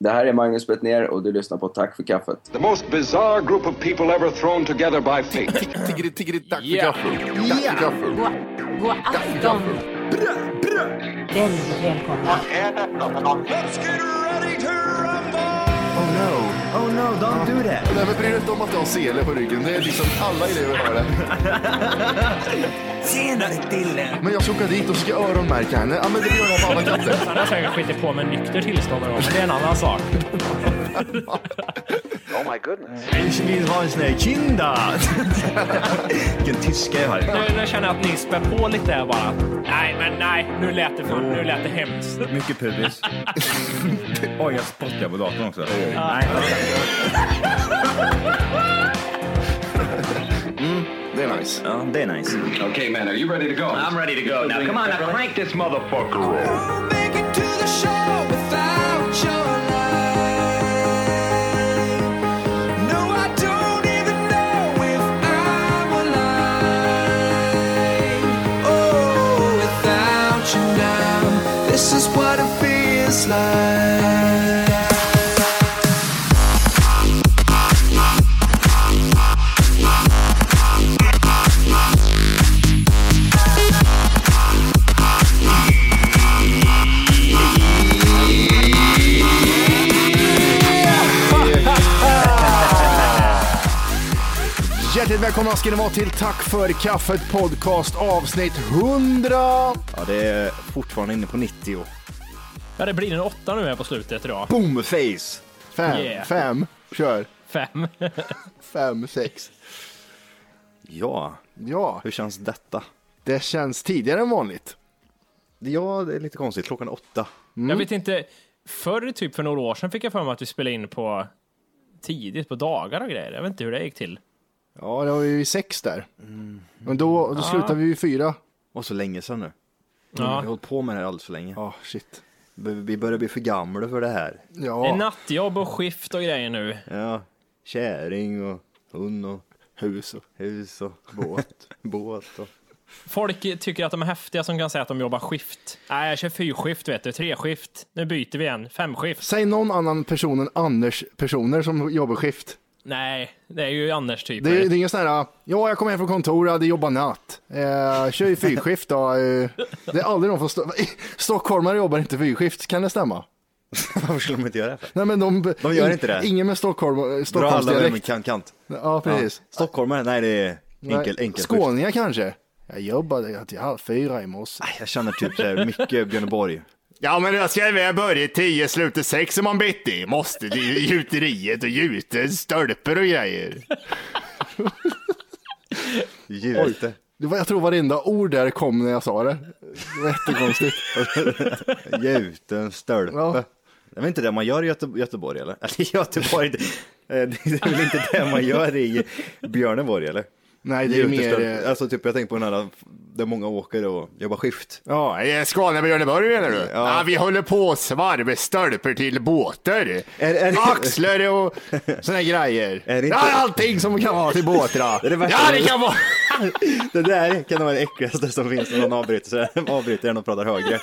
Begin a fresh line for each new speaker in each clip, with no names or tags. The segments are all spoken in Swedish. Det här är Magnus Bettner och du lyssnar på Tack för kaffet.
The most bizarre group of people ever thrown together by fate.
Tiggeri, tiggeri, tack för kaffe. Tack för kaffe.
God, god afton. Väldigt välkomna.
Oh Nej, men bry dig inte om att jag har sele på ryggen. Det är liksom alla elever har det. Tjenare Dille! Men jag ska åka dit och ska öronmärka henne. Ja, men det gör jag på alla katter.
Han har säkert skitit på med nykter tillstånd någon gång, men det är en annan sak.
Ich vill ha en sån här kinda. Vilken tyska jag har.
Nu, nu känner jag att ni spär på lite här bara. Nej, men nej, nu lät det, för, nu lät det hemskt.
Mycket pubis. Oj, jag spottar på datorn också.
Mm, Det är nice.
Ja, det är nice.
Okay, man, are you ready to go? I'm ready.
This is what it feels like.
Hjärtligt välkomna ska ni vara till Tack för kaffet podcast avsnitt 100.
Ja, det är fortfarande inne på 90.
Ja, det blir en åtta nu här på slutet idag.
Boomface. Fem,
Yeah.
fem, kör.
Fem.
Fem, sex.
Ja,
Ja,
hur känns detta?
det känns tidigare än vanligt.
Ja, det är lite konstigt. Klockan är åtta.
Jag vet inte, förr typ för några år sedan fick jag för mig att vi spelade in på tidigt på dagar och grejer. Jag vet inte hur det gick till.
Ja, det var ju sex där.
Mm.
Men då, då slutade vi vid fyra.
Och så länge sedan nu. Vi har
Ja.
hållit på med det här alldeles för länge.
Ja, shit.
Vi vi börjar bli för gamla för det här.
Det är
Ja,
nattjobb och skift och grejer nu.
Ja, käring och hund och
hus och...
hus och båt. båt och...
Folk tycker att de är häftiga som kan säga att de jobbar skift. Nej, jag kör fyrskift vet du, treskift. Nu byter vi igen, femskift.
Säg någon annan person än Anders personer som jobbar skift.
Nej, det är ju Anders typ.
Det är, det är ingen sån här, ja jag kommer hem från kontoret, hade jobbat natt. Eh, kör ju fyrskift då. Eh, det är aldrig någon från Sto- Stockholmare jobbar inte fyrskift, kan det stämma?
Varför skulle de inte göra det? För?
Nej men de,
De gör inte det.
Ingen med Stockholm,
Dra alla över med
Stockholmsdialekt.
kan- kant.
Ja precis.
Ja. Stockholmare? Nej, det är enkel, enkel skift.
Skåningar kanske? Jag jobbade till halv fyra i morse.
Nej, Jag känner typ så här mycket Björneborg.
Ja men jag ska väl börja tio, sluta sex om man bitti. Måste till gjuteriet och gjuten stölper och grejer.
Jute.
Det var, jag tror varenda ord där kom när jag sa det. Det var jättekonstigt.
Gjuten stölpe.
Ja.
Det är väl inte det man gör i Göte Göteborg eller? Eller Göteborg, det, eh, det är väl inte det man gör i Björneborg eller?
Nej det är mer...
Gjutestölpe.
eh,
Alltså typ jag tänker på den här där många åker och jobbar skift.
Ja, Skåne med Björneborg menar du?
Ja.
vi håller på och svarvar stölper till båtar.
Är- är det-
Axlar och såna här grejer.
Är det inte-
Ja, allting som kan vara till båtar.
Det är det värsta
ja,
jag
det
vet.
kan vara.
Det där kan vara det äckligaste som finns när någon avbryter, så de avbryter en och pratar högre.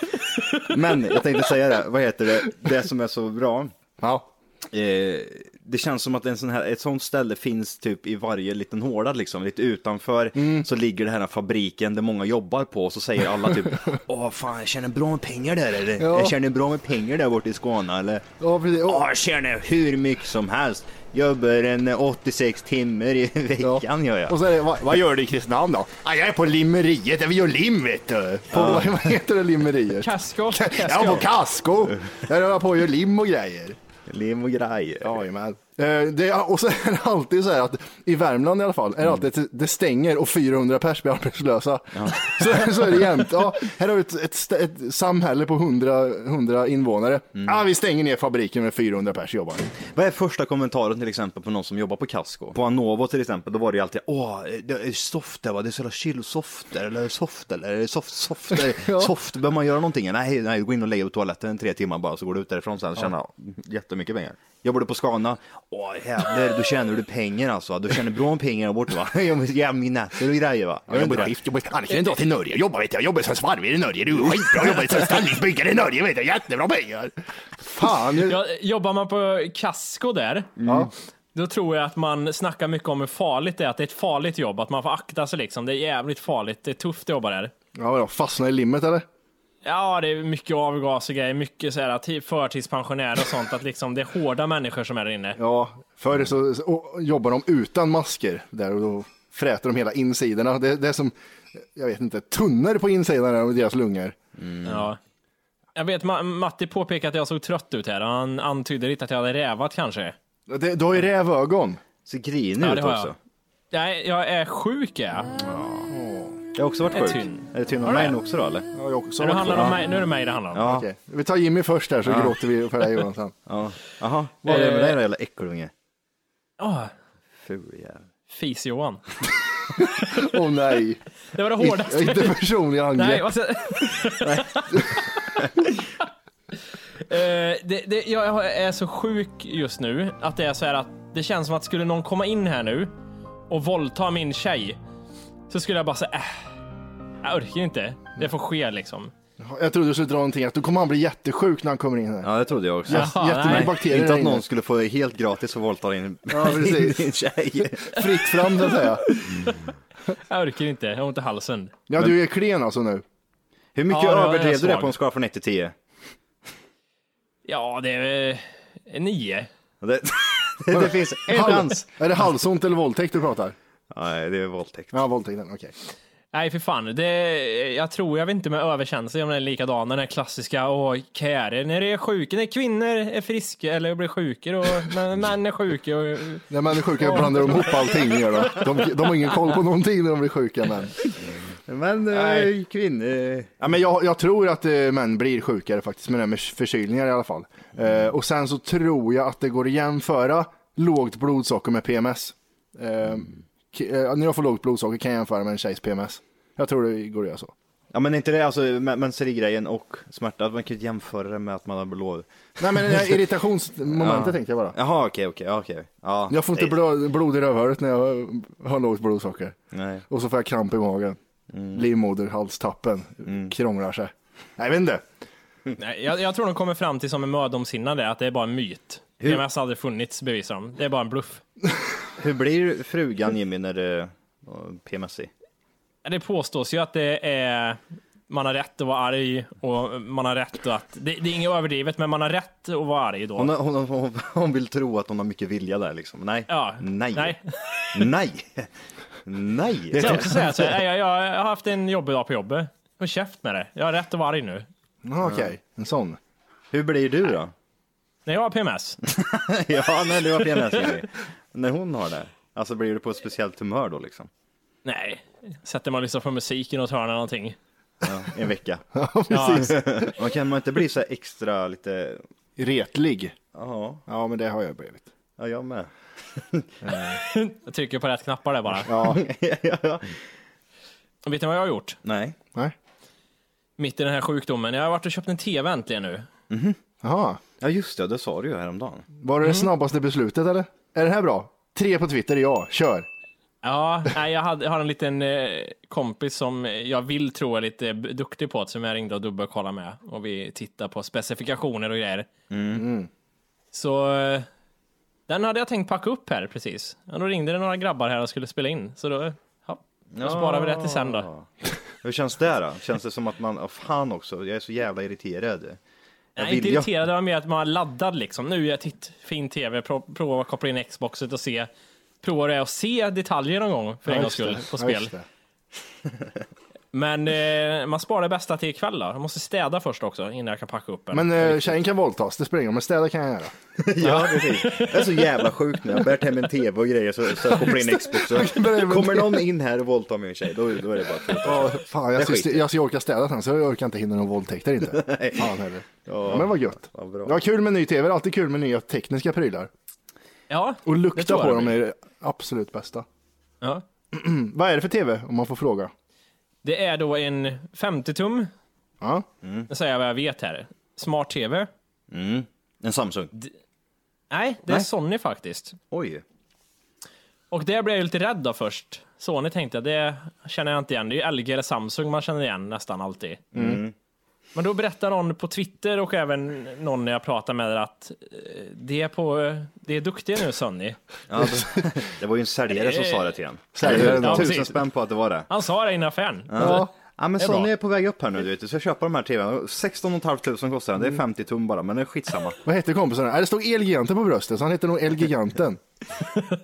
Men jag tänkte säga det, vad heter det, det som är så bra.
Ja.
Eh, det känns som att en sån här, ett sånt ställe finns typ i varje liten håla liksom. Lite utanför
Mm.
så ligger den här fabriken där många jobbar på och så säger alla typ Åh fan jag tjänar bra med pengar där eller?
Ja.
Jag tjänar bra med pengar där borta i Skåne eller?
Ja, precis.
Åh
Och,
jag tjänar hur mycket som helst. Jobbar en eh, 86 timmar i veckan gör jag.
och så är det, vad, vad gör du i Kristinehamn då? Ja, jag är på limmeriet, där vi gör lim vet du. På, Vad heter det limmeriet?
Kaskos.
Ja, på Kasko. Där håller jag på och gör lim och grejer.
Lim och grejer.
Jajamän. Eh, Det är, och så är det alltid så här att i Värmland i alla fall är det alltid att det stänger och 400 pers blir arbetslösa. Så, så är det jämt. Ja, här har vi ett, ett, stä- ett samhälle på 100, 100 invånare. Ah, vi stänger ner fabriken med 400 pers jobbar.
Vad är första kommentaren till exempel på någon som jobbar på Casco? På Anovo till exempel, då var det ju alltid åh, det är soft där va, det är så jävla chill, soft där, eller soft där, eller soft, soft, där.
Ja.
soft, behöver man göra någonting? Nej, nej, gå in och lägga på toaletten tre timmar bara så går du ut därifrån sen och tjänar jättemycket pengar. Jobbar du på Scana? Åh jävlar, då tjänar du pengar alltså. Du tjänar bra med pengar där borta va? Jobbar jävla nätter och grejer va?
Jag jobbar i skift, jobbar i Annars drar till Norge och jobbar vet jag. Jobbar som svarvare i Norge. Du är skitbra. Jobbar som ställningsbyggare i Norge vet jag. Jättebra pengar.
Fan, jag...
Ja, jobbar man på Casco där,
Mm.
då tror jag att man snackar mycket om hur farligt det är, att det är ett farligt jobb, att man får akta sig liksom. Det är jävligt farligt, det är tufft att jobba där.
ja, vadå, fastna i limmet eller?
Ja, det är mycket avgas och grejer, mycket så här, till- förtidspensionärer och sånt, att liksom det är hårda människor som är där inne.
Ja, förr så, så och, jobbar de utan masker där och då fräter de hela insidorna. Det, det är som, jag vet inte, tunnor på insidan av deras lungor. Mm.
Ja. Jag vet, Ma- Matti påpekade att jag såg trött ut här, och han antydde lite att jag hade rävat kanske.
Det, du har ju rävögon.
Så grinig
Ja, det
ut
har jag.
också.
Nej, jag är sjuk är jag.
Jag har också varit
Är
sjuk.
tyn.
Är det tyn
Har
om
du
mig
det?
också då eller?
Ja, jag också
Nu,
varit
handlar
sjuk.
det om mig, nu är det mig det handlar om.
Ja.
Okej, Vi tar Jimmy först där så gråter vi för dig Jonathan.
Ja. Jaha, vad är det med dig då jävla äckelunge?
Åh,
Ful jävel.
Fis-Johan.
Åh oh, nej,
Det var det
inte,
hårdaste.
inte personliga
Nej,
angrepp.
alltså... Eh, det, det, jag är så sjuk just nu att det är så här att det känns som att skulle någon komma in här nu och våldta min tjej så skulle jag bara säga äh, jag orkar inte. Det får ske liksom.
Jag trodde du skulle dra någonting att då kommer han bli jättesjuk när han kommer in här.
Ja, det trodde jag också.
Ja,
Jättemycket
nej.
bakterier
Ah, Inte
där
att
inne.
någon skulle få det helt gratis och våldta in
Ja, precis.
din tjej.
Fritt fram så att säga.
Jag orkar inte, jag har ont i halsen.
Ja, du är klen alltså nu.
Hur mycket
Ja, det var- jag är
överdrev du det
svag.
på en skala från 1 till 10?
Ja, det är eh, nio.
Det, det, det finns en
Hal-
chans.
Är det halsont eller våldtäkt du pratar?
Nej, det är våldtäkt.
Ja, våldtäkten, okej.
Nej, för fan. Det, jag tror, jag vet inte med överkänslig om den är likadan, den här klassiska, åh, käre, när det är sjuka, när kvinnor är friska eller blir sjuka och när män är sjuka och...
När män är sjuka blandar de ihop allting. Gör de. De, de har ingen koll på någonting när de blir sjuka män.
Men eh,
Nej.
kvinnor...
Ja, men jag, jag tror att eh, män blir sjukare faktiskt med det här med förkylningar i alla fall. Eh, och sen så tror jag att det går att jämföra lågt blodsocker med PMS. Eh, k- eh, när jag får lågt blodsocker kan jag jämföra med en tjejs PMS. Jag tror det går att göra så.
Ja men inte det, alltså men- menserigrejen och smärta, man kan ju jämföra det med att man har blod.
Nej men det här irritationsmomentet tänkte jag bara.
Jaha okej okej, ja, okej. Ja,
Jag får inte
nej.
blod, blod i rövhålet när jag har lågt blodsocker.
Nej.
Och så får jag kramp i magen.
Mm.
Livmoderhalstappen krånglar sig. Nej, jag vet inte.
Nej, jag, jag tror de kommer fram till som är mödomsinnade, att det är bara en myt. Det mest aldrig funnits, bevisar de. Det är bara en bluff.
Hur blir frugan Jimmy när det eh, är PMS? i?
Ja, Det påstås ju att det är... Man har rätt att vara arg och man har rätt att... Det, det är inget överdrivet, men man har rätt att vara arg då.
Hon, har- hon, hon, hon vill tro att hon har mycket vilja där liksom. Nej.
Ja.
Nej.
Nej.
Nej. Nej.
Jag kan också säga så här, nej, jag, jag, jag har haft en jobbig dag på jobbet. Håll käft med det. Jag har rätt att vara arg nu.
Ja, Okej, en sån.
Hur blir du då?
När jag har PMS,
ja, när du har PMS Jimmy. När hon har det. Alltså blir du på ett speciellt humör då liksom?
nej. Sätter man och lyssnar på musik i något hörn eller någonting.
Ja, en vecka.
Ja,
Man kan man inte bli så här extra lite,
Retlig.
ja,
Ja, men det har jag blivit.
ja jag med.
jag trycker på rätt knappar där bara. Och Vet ni vad jag har gjort?
Nej.
Nej.
Mitt i den här sjukdomen. Jag har varit och köpt en TV äntligen nu.
Jaha.
Ja just det, det sa du ju häromdagen.
Var det det
Mm.
snabbaste beslutet eller? Är det här bra? Tre på Twitter, ja. Kör.
Ja, nej, jag, hade, jag har en liten eh, kompis som jag vill tro är lite b- duktig på det, som jag ringde och dubbelkollade med. Och vi tittar på specifikationer och grejer. Så eh, den hade jag tänkt packa upp här precis. Ja, då ringde det några grabbar här och skulle spela in. Så då, ja, då sparar vi det till sen då.
Hur känns det då? Känns det som att man, oh, fan också, jag är så jävla irriterad. Jag
Nej, inte
vill ju-
irriterad, det var mer att man var laddad liksom. Nu är jag titt, fin tv, pro- prova att koppla in Xboxet och se. Prova det och se detaljer någon gång för en gångs skull på
Ja,
spel.
just det.
Men eh, man sparar det bästa till ikväll då. Jag måste städa först också innan jag kan packa upp den.
Men eh, tjejen kan våldtas, det spelar ingen roll, men städa kan jag göra.
Ja precis. Jag är så jävla sjuk nu, jag har bärt hem en tv och grejer så, så jag kopplar in Xbox. Så kommer någon in här och våldtar min tjej, då, då är det bara att
Ja, fan, jag,
Det
ska,
skiter.
jag ska orka städa sen, så jag orkar inte hinna någon våldtäkter inte. Fan heller. Ja, men vad gött.
vad
det
bra.
var kul med ny tv, det är alltid kul med nya tekniska prylar.
ja,
Och
det
lukta
tror jag
på
det
dem
blir.
är det absolut bästa.
Ja.
Vad är det för tv om man får fråga?
Det är då en 50-tum,
Ja.
nu säger jag vad jag vet här. Smart-tv.
En Samsung.
Nej, det är Sony faktiskt.
Oj.
Och det blev jag lite rädd då först. Sony tänkte jag, det känner jag inte igen. Det är ju LG eller Samsung man känner igen nästan alltid. Men då berättar någon på Twitter och även någon när jag pratar med där att eh, det är, på, det är duktiga nu Sony.
Ja, det, det var ju en säljare som sa det till en.
Säljaren,
ja,
Tusen
precis.
spänn på att det var det.
Han sa det innan affären.
Ja. Ja men
Det är bra.
Sony är på väg upp här nu du vet, du ska köpa de här tvn. 16 500 kostar
Mm.
den, det är 50 tum bara, men det är skitsamma.
Vad hette kompisen? Nej, det stod Elgiganten på bröstet, så han hette nog Elgiganten.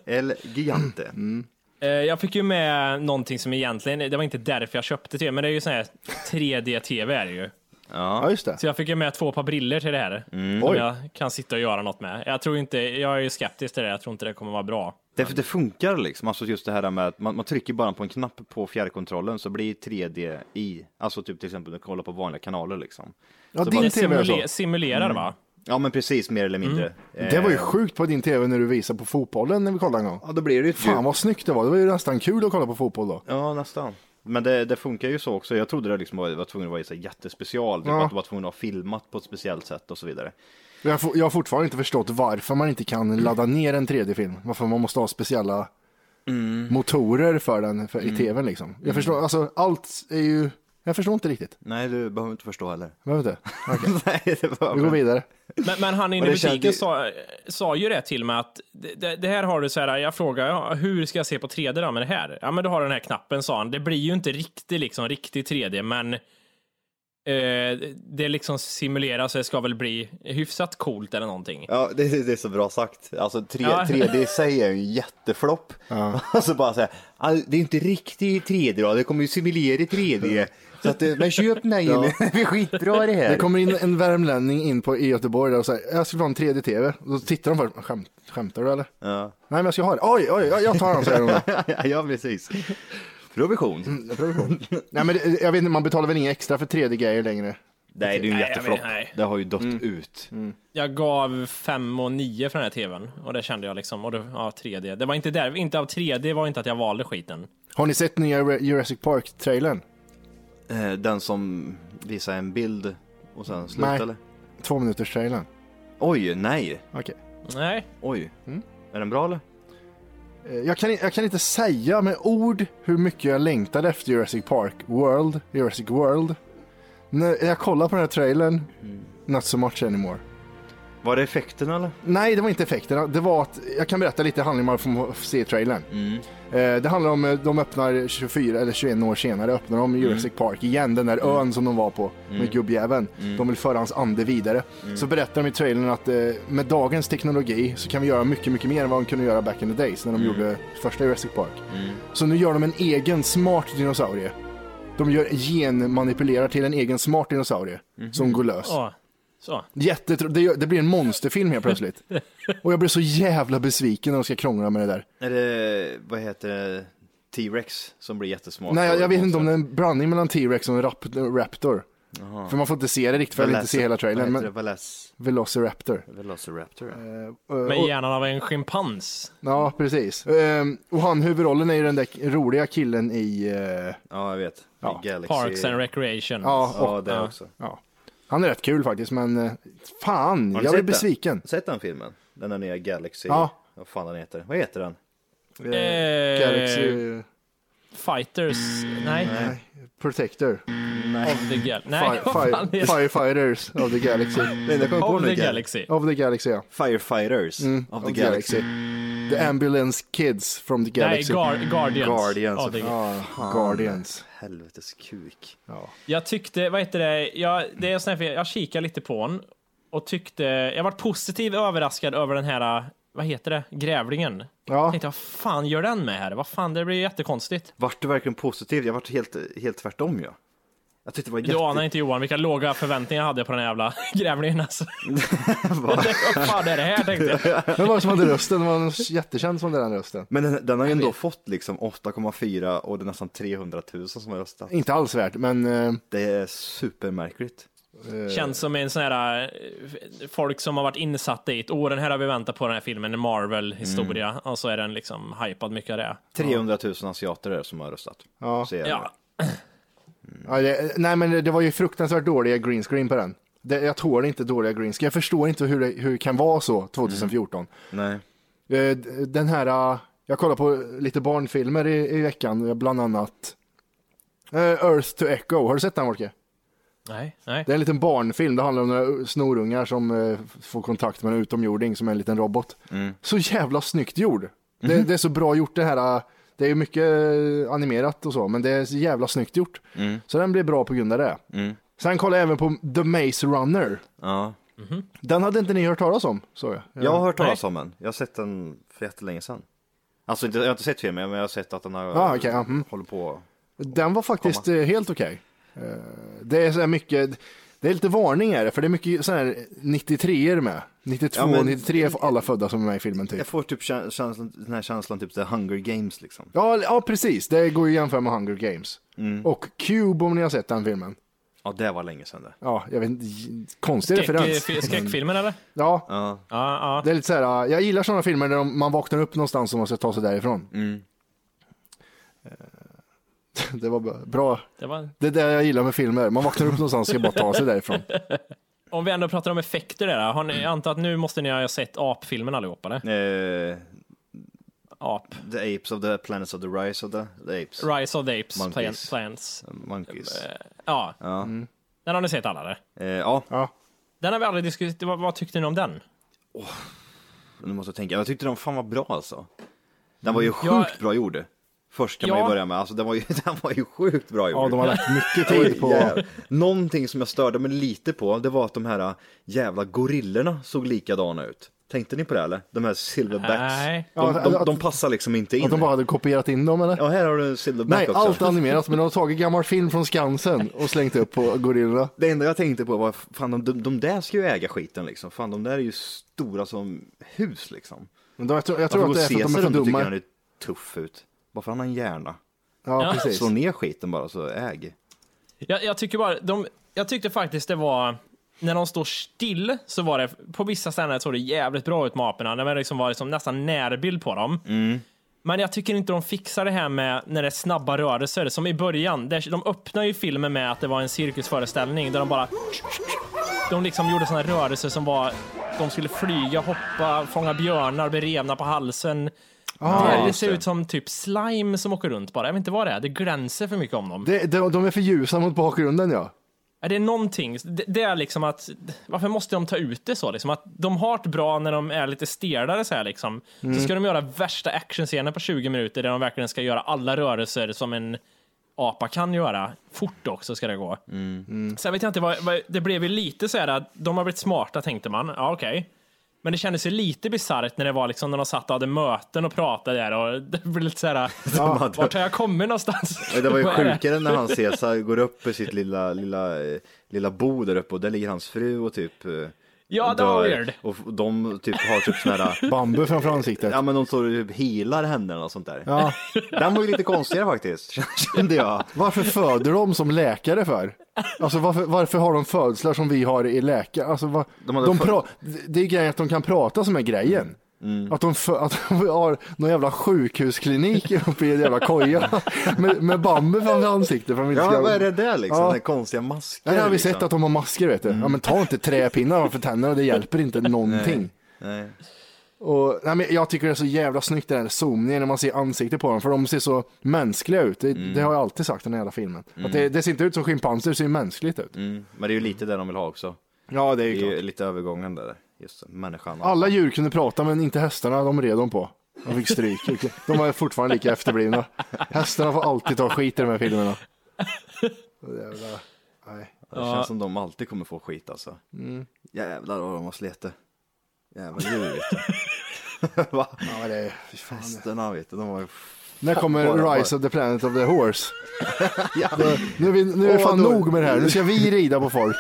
El Gigante. Mm.
Eh, Jag fick ju med någonting som egentligen, det var inte därför jag köpte tv, men det är ju sån här 3D-tv är det ju.
Ja, just det.
Så jag fick ju med två par briller till det här.
Mm.
Som jag kan sitta och göra något med. Jag tror inte, jag är ju skeptisk till det, jag tror inte det kommer vara bra.
Det, det funkar liksom, alltså just det här med att man, man trycker bara på en knapp på fjärrkontrollen så blir 3D i, alltså typ till exempel när du kollar på vanliga kanaler liksom.
Ja,
Så
din
Det
tv är så.
simule- simulerar va?
Ja men precis, mer eller mindre.
Mm.
Det var ju
Eh,
sjukt på din tv när du visade på fotbollen när vi kollade en gång.
Ja då blir det ju ett
Fan vad snyggt det var, det var ju nästan kul att kolla på fotboll då.
Eh, Ja, nästan. Men det, det funkar ju så också. Jag trodde det liksom var, var tvungen att vara så här jättespecial, typ
Ja.
att du var tvungen att ha filmat på ett speciellt sätt och så vidare.
Jag, har for- jag har fortfarande inte förstått varför man inte kan ladda ner en 3D-film. Varför man måste ha speciella
Mm.
motorer för den för, i tvn liksom. Jag förstår, alltså allt är ju, jag förstår inte riktigt.
Nej, du behöver inte förstå heller.
Behöver inte.
Nej, det var...
Vi går vidare.
Men, men han inne i
det
butiken
kändes-
sa, sa ju det till mig att det- det, det här har du så här, jag frågar ja, hur ska jag se på 3D då med det här? Ja men du har den här knappen sa han, det blir ju inte riktigt liksom riktig 3D men eh, det liksom simuleras så det ska väl bli hyfsat coolt eller någonting.
Ja, det, det- det är så bra sagt. Alltså 3,
Ja.
3D i sig är ju en jätteflopp. Alltså bara så här, "Ah, det är inte riktigt 3D då, det kommer ju simulera 3D. Så att, eh, men köp den här Jimmy, det är skitbra det här.
Det kommer in en värmlänning in på, i Göteborg där och säger jag skulle ha en 3D-tv. Och Då tittar de först, Skämt, skämtar du eller? Nej men jag ska ha det. Oj, oj, oj, jag tar den säger de. då.
ja, precis. Provision.
Mm. Nej men det- jag vet inte, man betalar väl inga extra för 3D-grejer längre.
Nej, det är ju en
Nej, jag
jätteflopp.
vet- nej.
Det har ju dött
Mm.
ut.
Jag gav 5 och 9 för den här tvn och det kände jag liksom, och då, ja 3D. Det var inte där, inte av 3D var inte att jag valde skiten.
Har ni sett nya Re- Jurassic Park-trailern?
Eh, Den som visar en bild och sen slut
Nej.
eller?
Två minuters trailern.
Oj, nej.
Okej.
Nej,
Oj.
Mm.
Är den bra eller?
Eh, Jag kan, i- jag kan inte säga med ord hur mycket jag längtade efter Jurassic Park World. Jurassic World. När jag kollar på den här trailern, not so much anymore.
Var det effekten eller?
Nej, det var inte effekterna. Det var att, jag kan berätta lite handling man får se i trailern. Eh, det handlar om, eh, de öppnar 24 eller 21 år senare, öppnar de Jurassic Park igen, den där ön som de var på med gubbjäveln. De vill föra hans ande vidare. Så berättar de i trailern att eh, med dagens teknologi så kan vi göra mycket, mycket mer än vad de kunde göra back in the days när de gjorde första Jurassic Park. Så nu gör de en egen smart dinosaurie. De gör genmanipulerar till en egen smart dinosaurie som går lös.
ja. Så.
Jättetro- det, det blir en monsterfilm helt plötsligt. Och jag blir så jävla besviken när de ska krångla med det där.
Är det, vad heter det? T-Rex som blir jättesmart.
Nej, jag, jag vet
Och-
inte om det är en blandning mellan T-Rex och en rap- raptor. För man får inte se det riktigt, för jag vill inte se hela trailern.
Vad heter
Men
det? Velas-
Velociraptor.
Velociraptor? ja.
Med hjärnan av en schimpans.
Ja, precis. Ehm, och han, huvudrollen är ju den där k- roliga killen i... eh,
Ja, jag vet. Galaxy.
Parks and Recreation.
ja, och,
Ja, det också.
ja. Han är rätt kul faktiskt, men eh, fan, jag
Har ni
blir
sett den?
besviken.
Sett den filmen? Den där nya Galaxy.
Ja.
Vad fan den heter. Vad heter den?
Eh,
Galaxy
Fighters.
Mm,
Nej.
Protector.
Of the Gal... Nej,
Fire,
vad fan
fire,
är det?
firefighters of the Galaxy.
Nej, jag kom
Of the Galaxy.
Of the Galaxy, ja.
Firefighters
Mm,
of the Galaxy.
The Ambulance Kids from the
Nej,
Galaxy.
Gar- Guardians.
Guardians.
Of the...
Ja, Guardians.
Helvetes kuk.
Jag tyckte, vad heter det, jag, det är sån här, jag kikade lite på den och tyckte, jag var positiv överraskad över den här, vad heter det, grävlingen.
Ja.
Tänkte, vad fan gör den med här? Vad fan, det blir ju jättekonstigt.
Vart du verkligen positiv? Jag vart helt, helt tvärtom ja. Jag tyckte det var jätte...
Du anar inte Johan vilka låga förväntningar jag hade på den här jävla grävlingen alltså. jag tänkte, vad fan är det här tänkte jag.
Vem var det som hade rösten? Det var någon jättekänd som hade den rösten.
Men den, den har ju ändå fått liksom 8,4 och det är nästan 300 000 som har röstat.
Inte alls värt, men eh,
Det är supermärkligt.
Känns som en sån här, eh, folk som har varit insatta i ett år, den här har vi väntat på den här filmen, en Marvel-historia, och så är den liksom hypad mycket av det.
300 000 asiater är det som har röstat. Ja.
Ja,
ja, det, nej men det var ju fruktansvärt dåliga green screen på den. Det, jag tål inte dåliga greenscreen. Jag förstår inte hur det, hur det kan vara så 2014.
Nej.
Eh, d- Den här, eh, jag kollar på lite barnfilmer i, i veckan, eh, bland annat eh, Earth to Echo. Har du sett den Folke?
Nej, nej.
Det är en liten barnfilm, det handlar om några snorungar som eh, får kontakt med en utomjording som är en liten robot.
Mm.
Så jävla snyggt gjord!
Mhm.
Det, det är så bra gjort det här, eh, det är ju mycket eh, animerat och så, men det är så jävla snyggt gjort.
Mm.
Så den blir bra på grund av det. Sen kollar jag även på The Maze Runner.
Ja.
Den hade inte ni hört talas om, såg jag.
Jag har hört talas om den. Jag har sett den för jättelänge sedan. Alltså inte, jag har inte sett filmen, men jag har sett att den har,
Ah, okej, ja, mm.
håller på.
Den var faktiskt eh, helt okej. Eh, Det är så här mycket, det är lite varningar för det är mycket så här 93 er med. 92
Ja, men-
93 får alla födda som är med i filmen typ.
Jag får typ kä- känslan, den här känslan typ The Hunger Games liksom.
Ja, ja precis, det går ju att jämföra med Hunger Games. Och Cube om ni har sett den filmen.
Ja, det var länge sedan det.
Ja, jag vet inte, konstig
Skräck,
referens.
eh, fi- skräckfilmen eller?
Ja,
Ja.
Ja, ja.
det är lite så här, jag gillar sådana filmer där de- man vaknar upp någonstans och man ska ta sig därifrån. Eh, Det var bra- bra.
Det var...
Det är det jag gillar med filmer. Man vaknar upp någonstans och ska bara ta sig därifrån.
Om vi ändå pratar om effekter där, har ni, jag antar att nu måste ni ha sett apfilmen allihopa eller?
Eh,
Ap.
the Apes of the Planets of the Rise of the, the Apes.
Rise of the Apes,
Monkeys.
Monkeys. Plants.
Monkeys.
Ja. Den har ni sett alla eller?
Eh, ja,
Ja.
Den har vi aldrig diskuterat, vad, vad tyckte ni om den?
nu måste jag tänka. Jag tyckte den fan var bra alltså. Den var ju sjukt
Jag-
bra gjord. Först kan man ju
Mm. Ja.
börja med. Alltså den var ju, den var ju sjukt bra gjord.
Ja, de har lagt mycket tid på...
Jävlar. Någonting som jag störde mig lite på, det var att de här äh, jävla gorillorna såg likadana ut. Tänkte ni på det eller? De här silverbacks.
Nej.
De,
Ja,
de,
att-
de passar liksom inte in.
Att de bara hade kopierat in dem eller?
Ja, här har du en silverback
Nej,
också.
allt animerat, men de har tagit gammal film från Skansen och slängt upp på gorillorna.
Det enda jag tänkte på var, fan de, de, de där ska ju äga skiten liksom. Fan de där är ju stora som hus liksom.
Men då, jag tror, jag
Varför
tror
går
att det är för att de är
Caesar
för
runt och tycker
dumma.
han är tuff ut? Bara för han har en hjärna.
Ja, precis.
Slå ner skiten bara så äg.
Jag, jag tycker bara, de, jag tyckte faktiskt det var, när de står still så var det, på vissa ställen såg det jävligt bra ut med aporna, när man liksom var liksom nästan närbild på dem. Men jag tycker inte de fixar det här med när det är snabba rörelser, som i början, där de öppnar ju filmen med att det var en cirkusföreställning där de bara de liksom gjorde sådana rörelser som var, de skulle flyga, hoppa, fånga björnar, bli revna på halsen. det, det
Ah, just
ser
det.
ut som typ slime som åker runt bara. Jag vet inte vad det är, det glänser för mycket om dem.
Det, de, de är för ljusa mot bakgrunden ja.
Är det någonting, det, det är liksom att, varför måste de ta ut det så liksom? Att de har det bra när de är lite stelare så här liksom.
Mm.
Så ska de göra värsta actionscenen på 20 minuter där de verkligen ska göra alla rörelser som en apa kan göra. Fort också ska det gå.
Mm.
Sen vet jag inte, vad, vad, det blev ju lite så här att de har blivit smarta tänkte man. Ja, okej. Men det kändes ju lite bisarrt när det var liksom när de satt och hade möten och pratade där och det blev lite så här, vart har jag kommit någonstans?
Men Det var ju
Vad är det?
sjukare när han Caesar går upp i sitt lilla, lilla, eh, lilla bo där uppe och där ligger hans fru och typ eh,
Ja, det var
dör.
weird.
Och f- de typ har typ såna här,
Bambu framför ansiktet.
ja men de står och typ healar henne eller något sånt där.
Ja.
Den var ju lite konstigare faktiskt, kände jag.
Varför föder de som läkare för? Alltså varför, varför har de födslar som vi har i läkare? Alltså, vad-
De
de
hade för-
pra- det är grejen att de kan prata som är grejen.
Mm.
Att, de för, att de har någon jävla sjukhusklinik uppe i en jävla koja med, med bambu framför ansiktet. För att de inte
Ja,
ska-
vad är det där liksom?
Ja.
Den här konstiga masken.
Nej, det har vi
liksom. Mm.
sett att de har masker vet du. Ja, men ta inte träpinnar framför tänderna, det hjälper inte någonting.
Nej.
Och, nej, men jag tycker det är så jävla snyggt den här zoomningen när man ser ansiktet på dem, för de ser så mänskliga ut. Det,
Mm.
det har jag alltid sagt i den här jävla filmen. Att det, det ser inte ut som schimpanser, det ser ju mänskligt ut.
Mm. Men det är ju lite det de vill ha också.
Ja, det är
Det
ju
är ju
klart.
lite övergången där, just det, människan.
Alla djur kunde prata, men inte hästarna, de red de på. De fick stryk. De var fortfarande lika efterblivna. Hästarna får alltid ta skit i de här filmerna. Jävla, nej.
Det känns som de alltid kommer få skit alltså.
Mm.
Jävlar vad de har slitit. Jävla djur vet du. Va?
Ja, men det, fy fan.
Hästarna vet du, de var ju
När kommer
Bara-
Rise of the Planet of the Horse? Nu är, vi, nu är det
Åh,
fan
då-
nog med det här, nu ska vi rida på folk.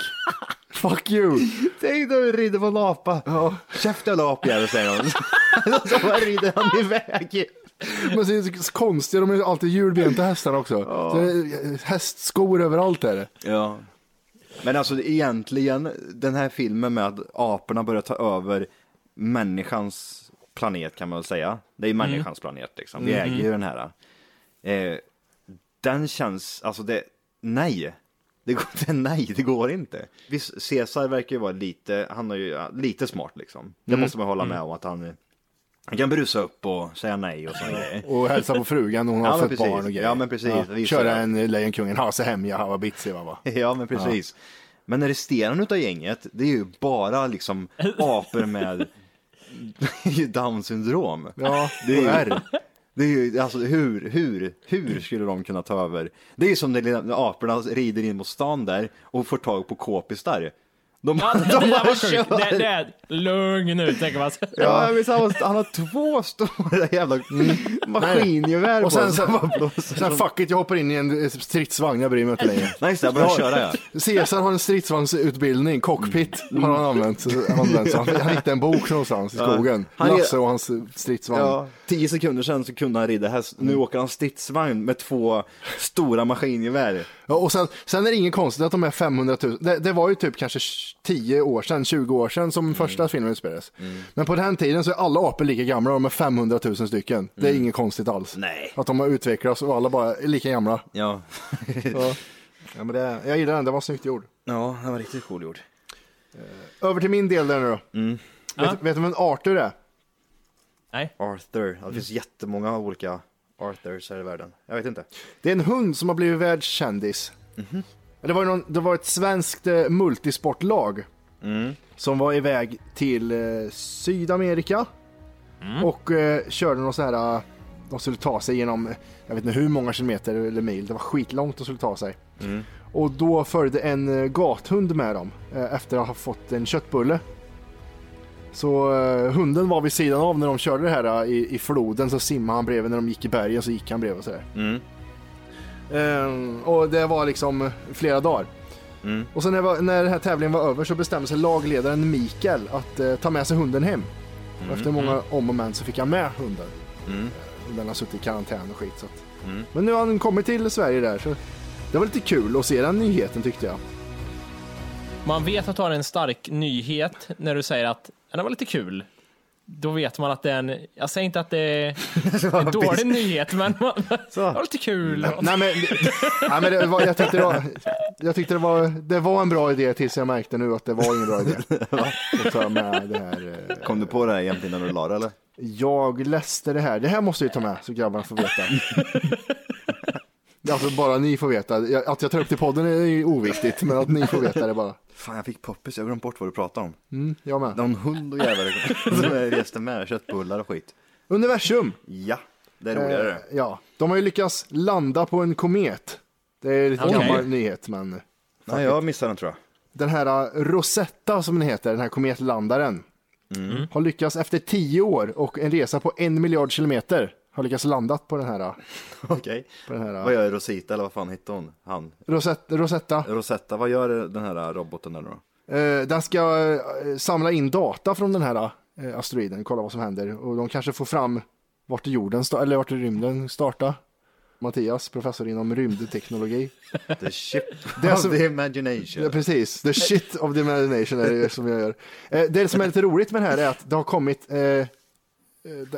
Fuck you!
Tänk dig att rida på en apa. Ja. Käften eller apjävel säger de. Så bara rider han iväg.
Men det är så konstiga, de är alltid hjulbenta hästarna också. Så det är eh, hästskor överallt är det.
Ja. Men alltså egentligen den här filmen med att aporna börjar ta över människans planet kan man väl säga. Det är ju människans planet liksom. Vi äger ju den här. Eh, den känns, alltså det, nej. Det går inte, nej, det går inte. Visst, Caesar verkar ju vara lite, han är ju ja, lite smart liksom. Det måste man hålla med om att han, han kan brusa upp och säga nej och sådana grejer.
Och hälsa på frugan när hon
Ja,
har
men
fött
precis.
barn och grejer.
Ja, men precis. Visa
Köra
det.
en eh, Lejonkungen, Hasse Hemja, Hava Bitsi, va, va?
Ja, men precis. Men resterande utav gänget, det är ju bara liksom apor med down syndrom.
Ja,
det
och
är ju,
R.
det är ju alltså hur, hur, hur skulle de kunna ta över? Det är ju som när lilla- aporna rider in mot stan där och får tag på kåpisar. De,
Ja, det, det,
de
där
bara
var sjukt.
kör.
Det, det, är- lugn nu, tänker man.
Ja, Mm. jag minns, han, har- han har två stora jävla maskingevär
Och sen,
sig.
sen, sen fuck it, jag hoppar in i en eh, stridsvagn, jag bryr mig inte längre.
Nej, just det, jag börjar
Ja.
köra ja. Mm.
Caesar har en stridsvagnsutbildning, cockpit har han använt. använt så han, han hittade en bok någonstans i skogen.
Han är-
Lasse och hans stridsvagn.
Ja, Mm. tio sekunder sedan så kunde han rida häst. Nu åker han stridsvagn med två stora maskingevär.
Ja, och sen, sen är det ingen konstigt att de är 500 000. Det, det var ju typ kanske 10 år sedan, 20 år sedan
Mm.
som första filmen utspelades. Men på den tiden så är alla apor lika gamla, de är 500 000 stycken. Det är inget konstigt alls.
Mm. Nej.
Att de har utvecklats och alla bara är lika gamla.
Ja.
Ja, men det, jag gillar den, det var snyggt gjord.
ja, det var riktigt cool gjord.
Över till min del där nu då. Vet, vet du vem Arthur är?
Arthur. Ja, det finns jättemånga olika Arthurs här i världen. Jag vet inte.
Det är en hund som har blivit världskändis. Det, var ju någon, det var ett svenskt eh, multisportlag som var iväg till eh, Sydamerika och eh, körde någon så här, eh, de skulle ta sig genom, eh, jag vet inte hur många kilometer eller mil, det var skitlångt de skulle ta sig. Och då följde en eh, gathund med dem eh, efter att ha fått en köttbulle. Så eh, hunden var vid sidan av när de körde det här eh, i, i floden, så simmade han bredvid, när de gick i bergen så gick han bredvid och sådär. Ehm, och det var liksom flera dagar. Och sen när, var- när den här tävlingen var över så bestämde sig lagledaren Mikael att eh, ta med sig hunden hem. Och efter många om och men så fick han med hunden. Eh, Den har suttit i karantän och skit. Så att... Men nu har han kommit till Sverige där. Så det var lite kul att se den nyheten tyckte jag.
Man vet att du har en stark nyhet när du säger att "Ja, det var lite kul. Då vet man att det är en, jag säger inte att det är en dålig nyhet, men man, det var lite kul.
Nej men, nej, men det var, jag tyckte, det var, jag tyckte det, var, det var en bra idé tills jag märkte nu att det var ingen bra idé. Att ta med det här. eh,
Kom du på det här jämt innan du la det, eller?
Jag läste det här. Det här måste vi ta med så grabbarna får veta. alltså bara ni får veta. Jag- Att jag tar upp det i podden är ju oviktigt, men att ni får veta det bara.
Fan, jag fick poppis. Jag glömde bort vad du pratade om.
Mm, jag med.
Någon hund och jävlar som jag reste med. Köttbullar och skit.
Universum.
Ja, det är roligare.
Eh, ja, de har ju lyckats landa på en komet. Det är lite
Okej.
gammal nyhet, men
Nej, jag missade den tror jag.
den här eh, Rosetta som den heter, den här kometlandaren, har lyckats efter tio år och en resa på en miljard kilometer har lyckats landat på den här eh,
Okej.
den här-
Vad gör Rosita, eller vad fan hette hon? Han.
Rosetta. Rosetta.
Rosetta, vad gör den här roboten eller då?
Eh, Den ska eh, samla in data från den här eh, asteroiden, kolla vad som händer. Och de kanske får fram vart jorden, sta- eller vart rymden startar. Mattias, professor inom rymdteknologi.
The ship
Det är
of
som-
the imagination.
Ja, precis, the shit of the imagination är det som jag gör. Eh, Det som är lite roligt med det här är att det har kommit, eh, eh,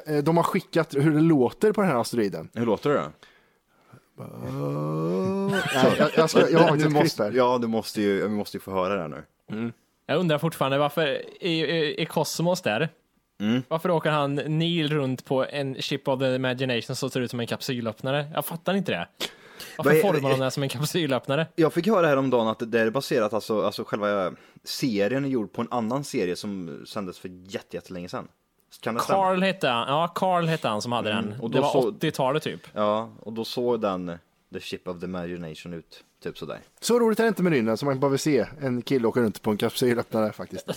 de- de har skickat hur det låter på den här asteroiden.
Hur låter det då?
Nej, jag, jag, ska, jag har faktiskt
Du
ett klipp
måste,
där.
ja, du måste ju, vi måste ju få höra det här nu.
Jag undrar fortfarande varför, i, i, i Cosmos där,
Mm.
varför åker han Neil runt på en ship of the imagination som ser ut som en kapsylöppnare? Jag fattar inte det. Varför
Vad är-
formar de den som en kapsylöppnare?
Jag fick höra häromdagen att det är baserat, alltså, alltså själva serien är gjord på en annan serie som sändes för jätte, jättelänge sedan. Kan det stämma?
Carl hette han, ja Carl hette han som hade den.
Mm, och då
det var
så-
80-talet typ.
Ja, och då såg den The Ship of the Imagination ut, typ sådär.
Så roligt är det inte med rymden, så man behöver se en kille åka runt på en kapsylöppnare faktiskt.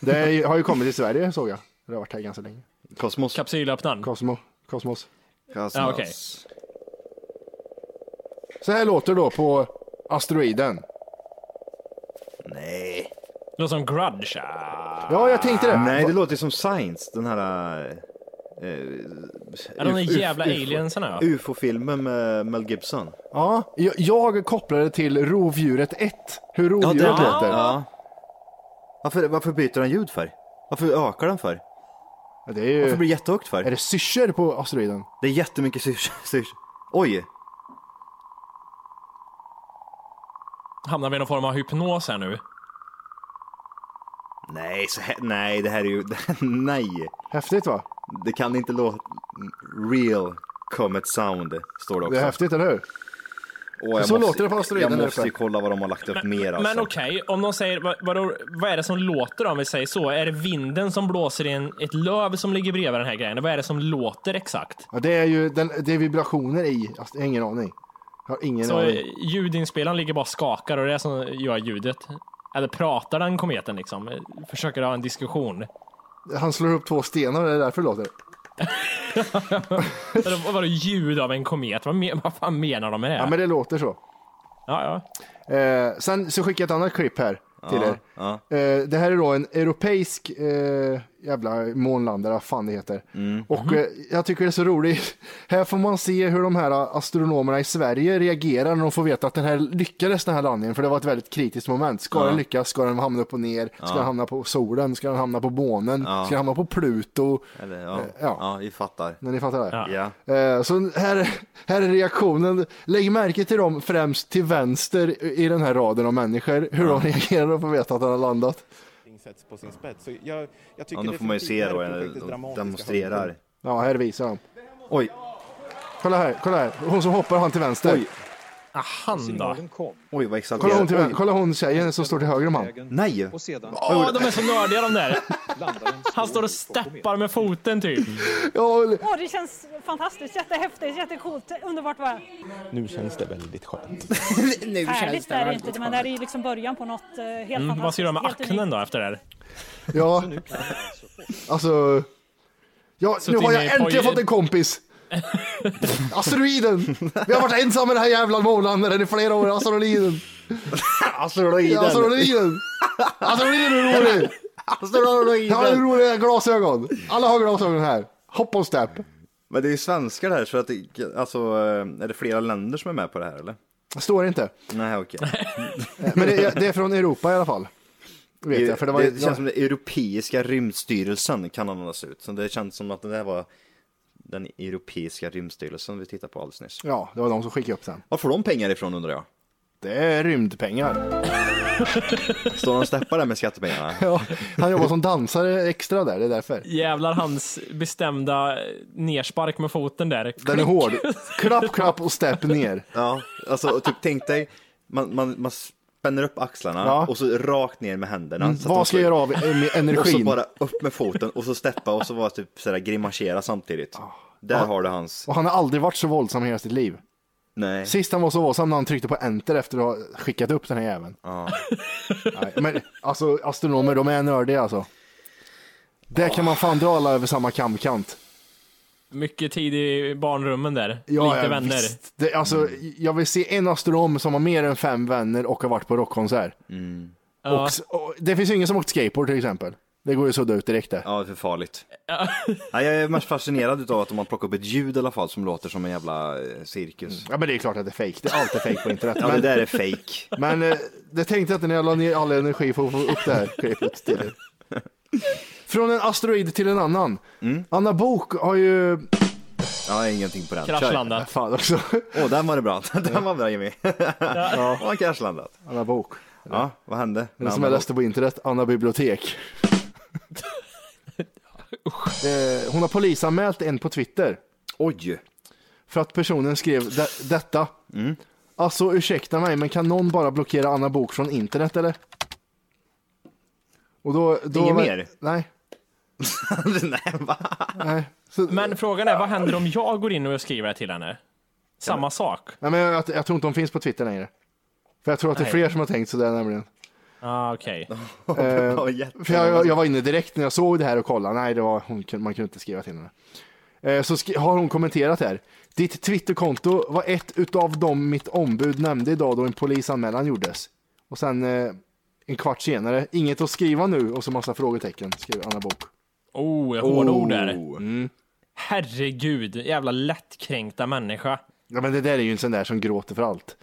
Det är ju- har ju kommit till Sverige såg jag. Det har varit här ganska länge.
Kosmos.
Kapsylöppnaren.
Cosmo, Cosmos.
Kosmos.
Ja, okej.
Så här låter det då på asteroiden.
Nej.
Låter som Grudge. Ja,
Ja, jag tänkte det.
Nej, det låter ju som Science, den här... eh,
de där
uf-
jävla
uf-
aliensarna. ja.
UFO-filmen med Mel Gibson.
Ja, jag, jag kopplade det till rovdjuret 1. Hur rovdjuret låter.
Ja. Varför, varför byter den ljud för? Varför ökar den för?
Ja, Det är ju...
Varför blir det jättehögt för?
Eh. Är det syrsor på asteroiden?
Det är jättemycket syrs. syrs. Oj!
Hamnar vi i någon form av hypnos här nu?
Nej, så här, nej, det här är ju... nej,
Häftigt va?
det kan inte låta... Real Comet Sound står det också.
Det är häftigt, eller hur?
Åh, jag
Så låter det på asteroiden
Jag
där
måste
uppe.
ju kolla vad de har lagt upp mer alltså.
Men okej, om de säger, vad, vadå, vad är det som låter om vi säger så? Är det vinden som blåser in ett löv som ligger bredvid den här grejen? Vad är det som låter exakt?
Ja, det är ju den, det är vibrationer i. Alltså, jag har ingen aning. Jag har ingen
Så
aning.
eh, ljudinspelaren ligger bara och skakar och det är det som gör ljudet. Eller pratar den kometen liksom? Eh, Försöker ha en diskussion?
Han slår upp två stenar och det är därför det låter.
Eller vadå ljud av en komet? Vad, men, vad fan menar de med det?
Ja, men det låter så.
ja, ja.
Eh, sen så skickar jag ett annat klipp här till er.
ja.
Eh, det här är då en europeisk eh, jävla månlandare, vad fan det heter.
Mm.
Och
Mhm.
eh, jag tycker det är så roligt. Här får man se hur de här astronomerna i Sverige reagerar när de får veta att den här lyckades den här landningen, för det var ett väldigt kritiskt moment. Ska den lyckas? Ska den hamna upp och ner? Ska den hamna på solen? Ska den hamna på månen? Ska den hamna på Pluto?
Eller, ja.
Eh,
ja.
ja.
vi fattar.
När ni fattar det? här.
Ja.
Eh, Så här, här är reaktionen. Lägg märke till dem främst till vänster i den här raden av människor. Hur de reagerar och får veta att den har landat.
sätts på sin spets. Så jag, jag
Ja,
tycker
då
det
får man ju se då,
förfinar
eh,
projektet
de
dramatiskt.
demonstrerar.
Ja, här visar de.
Oj,
Kolla här, kolla här. Hon som hoppar, han till vänster.
oj,
Ah, han då?
oj
Kolla
vad
hon,
exalterad.
till vänster.
Oj,
kolla hon tjejen som står till höger om han.
nej!
Åh, de är så nördiga de där. Han står och steppar med foten typ.
Mm. Ja, eller-
Åh, det känns fantastiskt, jättehäftigt, jättecoolt, underbart bara.
Nu känns det väldigt skönt.
Härligt är det inte, men det här är ju liksom början på något eh, helt
Mm,
fantastiskt.
vad ska du göra med
helt
axeln
unikt.
då efter det här?
ja. Alltså. Ja, nu
Suttit
har jag
inne i poj-
äntligen fått en kompis. Asteroiden! Vi har varit ensamma i den här jävla månlandaren i flera år. Asteroiden! Alltså,
Asteroiden!
Asteroiden! Asteroiden är rolig! Jag har
Asteroiden!
roliga glasögon. Alla har glasögon här. Hop on step.
Men det är ju svenskar här, så att det, alltså, eh, är det flera länder som är med på det här eller?
Står inte.
Nej, okej.
Men det är, det är från Europa i alla fall. Vet jag, för det var,
känns som den europeiska rymdstyrelsen kan användas ut. Så det känns som att det där var den europeiska rymdstyrelsen vi tittade på alldeles nyss.
ja, det var de som skickade upp den.
Var får de pengar ifrån undrar jag?
Det är rymdpengar.
Står de och steppar där med skattepengarna?
Ja, han jobbar som dansare extra där, det är därför.
Jävlar hans bestämda eh, nerspark med foten där.
Den är hård. Klapp, klapp och step ner.
Ja, alltså typ tänk dig, man, man, man spänner upp axlarna
Ja. Mm.
och så rakt ner med händerna. så att de
Vad ska jag göra av en-
Och så
energin?
bara upp med foten och så steppa och så var typ sådär grimasera samtidigt.
Ah.
Där har du hans,
Och han har aldrig varit så våldsam i hela sitt liv.
nej.
Sist han var så våldsam när han tryckte på enter efter att ha skickat upp den här jäveln. Nej, men alltså astronomer, de är nördiga alltså. Där kan man fan dra alla över samma kamkant.
Mycket tid i barnrummen där. Lite vänner.
visst. Det, alltså,
Mm.
jag vill se en astronom som har mer än fem vänner och har varit på rockkonsert. Och,
Ja.
s- och, det finns ju ingen som åkt skateboard till exempel. Det går ju att sudda ut direkt där.
Ja, det är för farligt. Ja, jag är mest fascinerad av att de har plockat upp ett ljud i alla fall som låter som en jävla eh, cirkus.
Ja men det är klart att det är fake. Det är alltid fake på internet.
Ja, det
men
där är fake.
men eh, det tänkte jag inte när jag la ner all energi för att få upp det här klippet till er. Från en asteroid till en annan. Anna Bok har ju...
Jag har ingenting på den. Kör.
Kraschlandat.
Fan också.
Åh, den var det bra. Den var bra Jimmy. Ja. Och kraschlandat.
Anna Bok.
Ja, vad hände?
Den som jag läste på internet, Anna Bibliotek. Eh, Hon har polisanmält en på Twitter.
Oj!
För att personen skrev de- detta. Alltså ursäkta mig, men kan någon bara blockera Anna Bok från internet eller? Och då, då
Inget mer?
Nej.
Nej, va?
nej. Så, men...
Men frågan är, vad händer om jag går in och skriver det till henne? Samma sak.
Nej, men jag, jag tror inte hon finns på Twitter längre. För jag tror att det är
Nej.
fler som har tänkt sådär nämligen.
Ah, okej.
Ja, jätte-
Eh, För jag, jag, jag var inne direkt när jag såg det här och kollade. Nej, det var, hon, kunde- man kunde inte skriva till henne. Eh, Så skri- har hon kommenterat här. Ditt Twitterkonto var ett utav dem mitt ombud nämnde idag då en polisanmälan gjordes. Och sen eh, en kvart senare, inget att skriva nu och så massa frågetecken, skriver Anna Bok.
Oh, hårda ord där.
Mm.
Herregud, jävla lättkränkta människa.
Ja, men det där är ju en sån där som gråter för allt.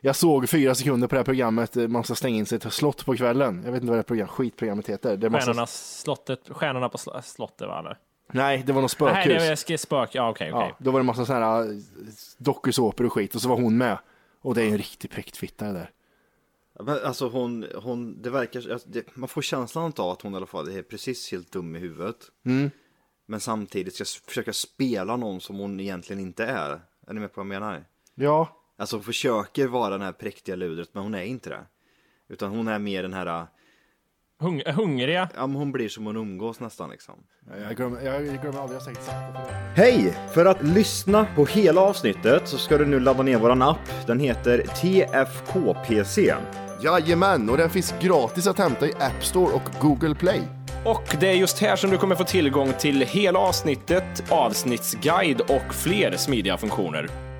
Jag såg fyra sekunder på det här programmet, eh, man ska stänga in sig till slott på kvällen. Jag vet inte vad det här program, skitprogrammet heter. Det är massa-
Stjärnorna, slottet, stjärnorna på sl- slottet, va? Eller?
Nej, det var något
Nej,
spökhus.
det är sk- spök. Ja, okej, okej.
Ja, då var det en massa sådana här eh, dokusåpor och skit och så var hon med. Och det är ju en riktig präktfitta det där.
Men Alltså hon, hon det verkar, alltså, det, man får känslan av att hon i alla fall är precis helt dum i huvudet.
Mm.
Men samtidigt ska s- försöka spela någon som hon egentligen inte är. Är ni med på vad jag menar?
Ja,
Alltså hon försöker vara den här präktiga ludret men hon är inte det. Utan hon är mer den här,
Hung eh, hungriga.
ja men hon blir som hon umgås nästan liksom.
jag glömmer, jag glömmer aldrig jag sagt exakt det.
Hej! För att lyssna på hela avsnittet så ska du nu ladda ner våran app. Den heter TFKPC.
Jajamän, och den finns gratis att hämta i App Store och Google Play.
Och det är just här som du kommer få tillgång till hela avsnittet, avsnittsguide och fler smidiga funktioner.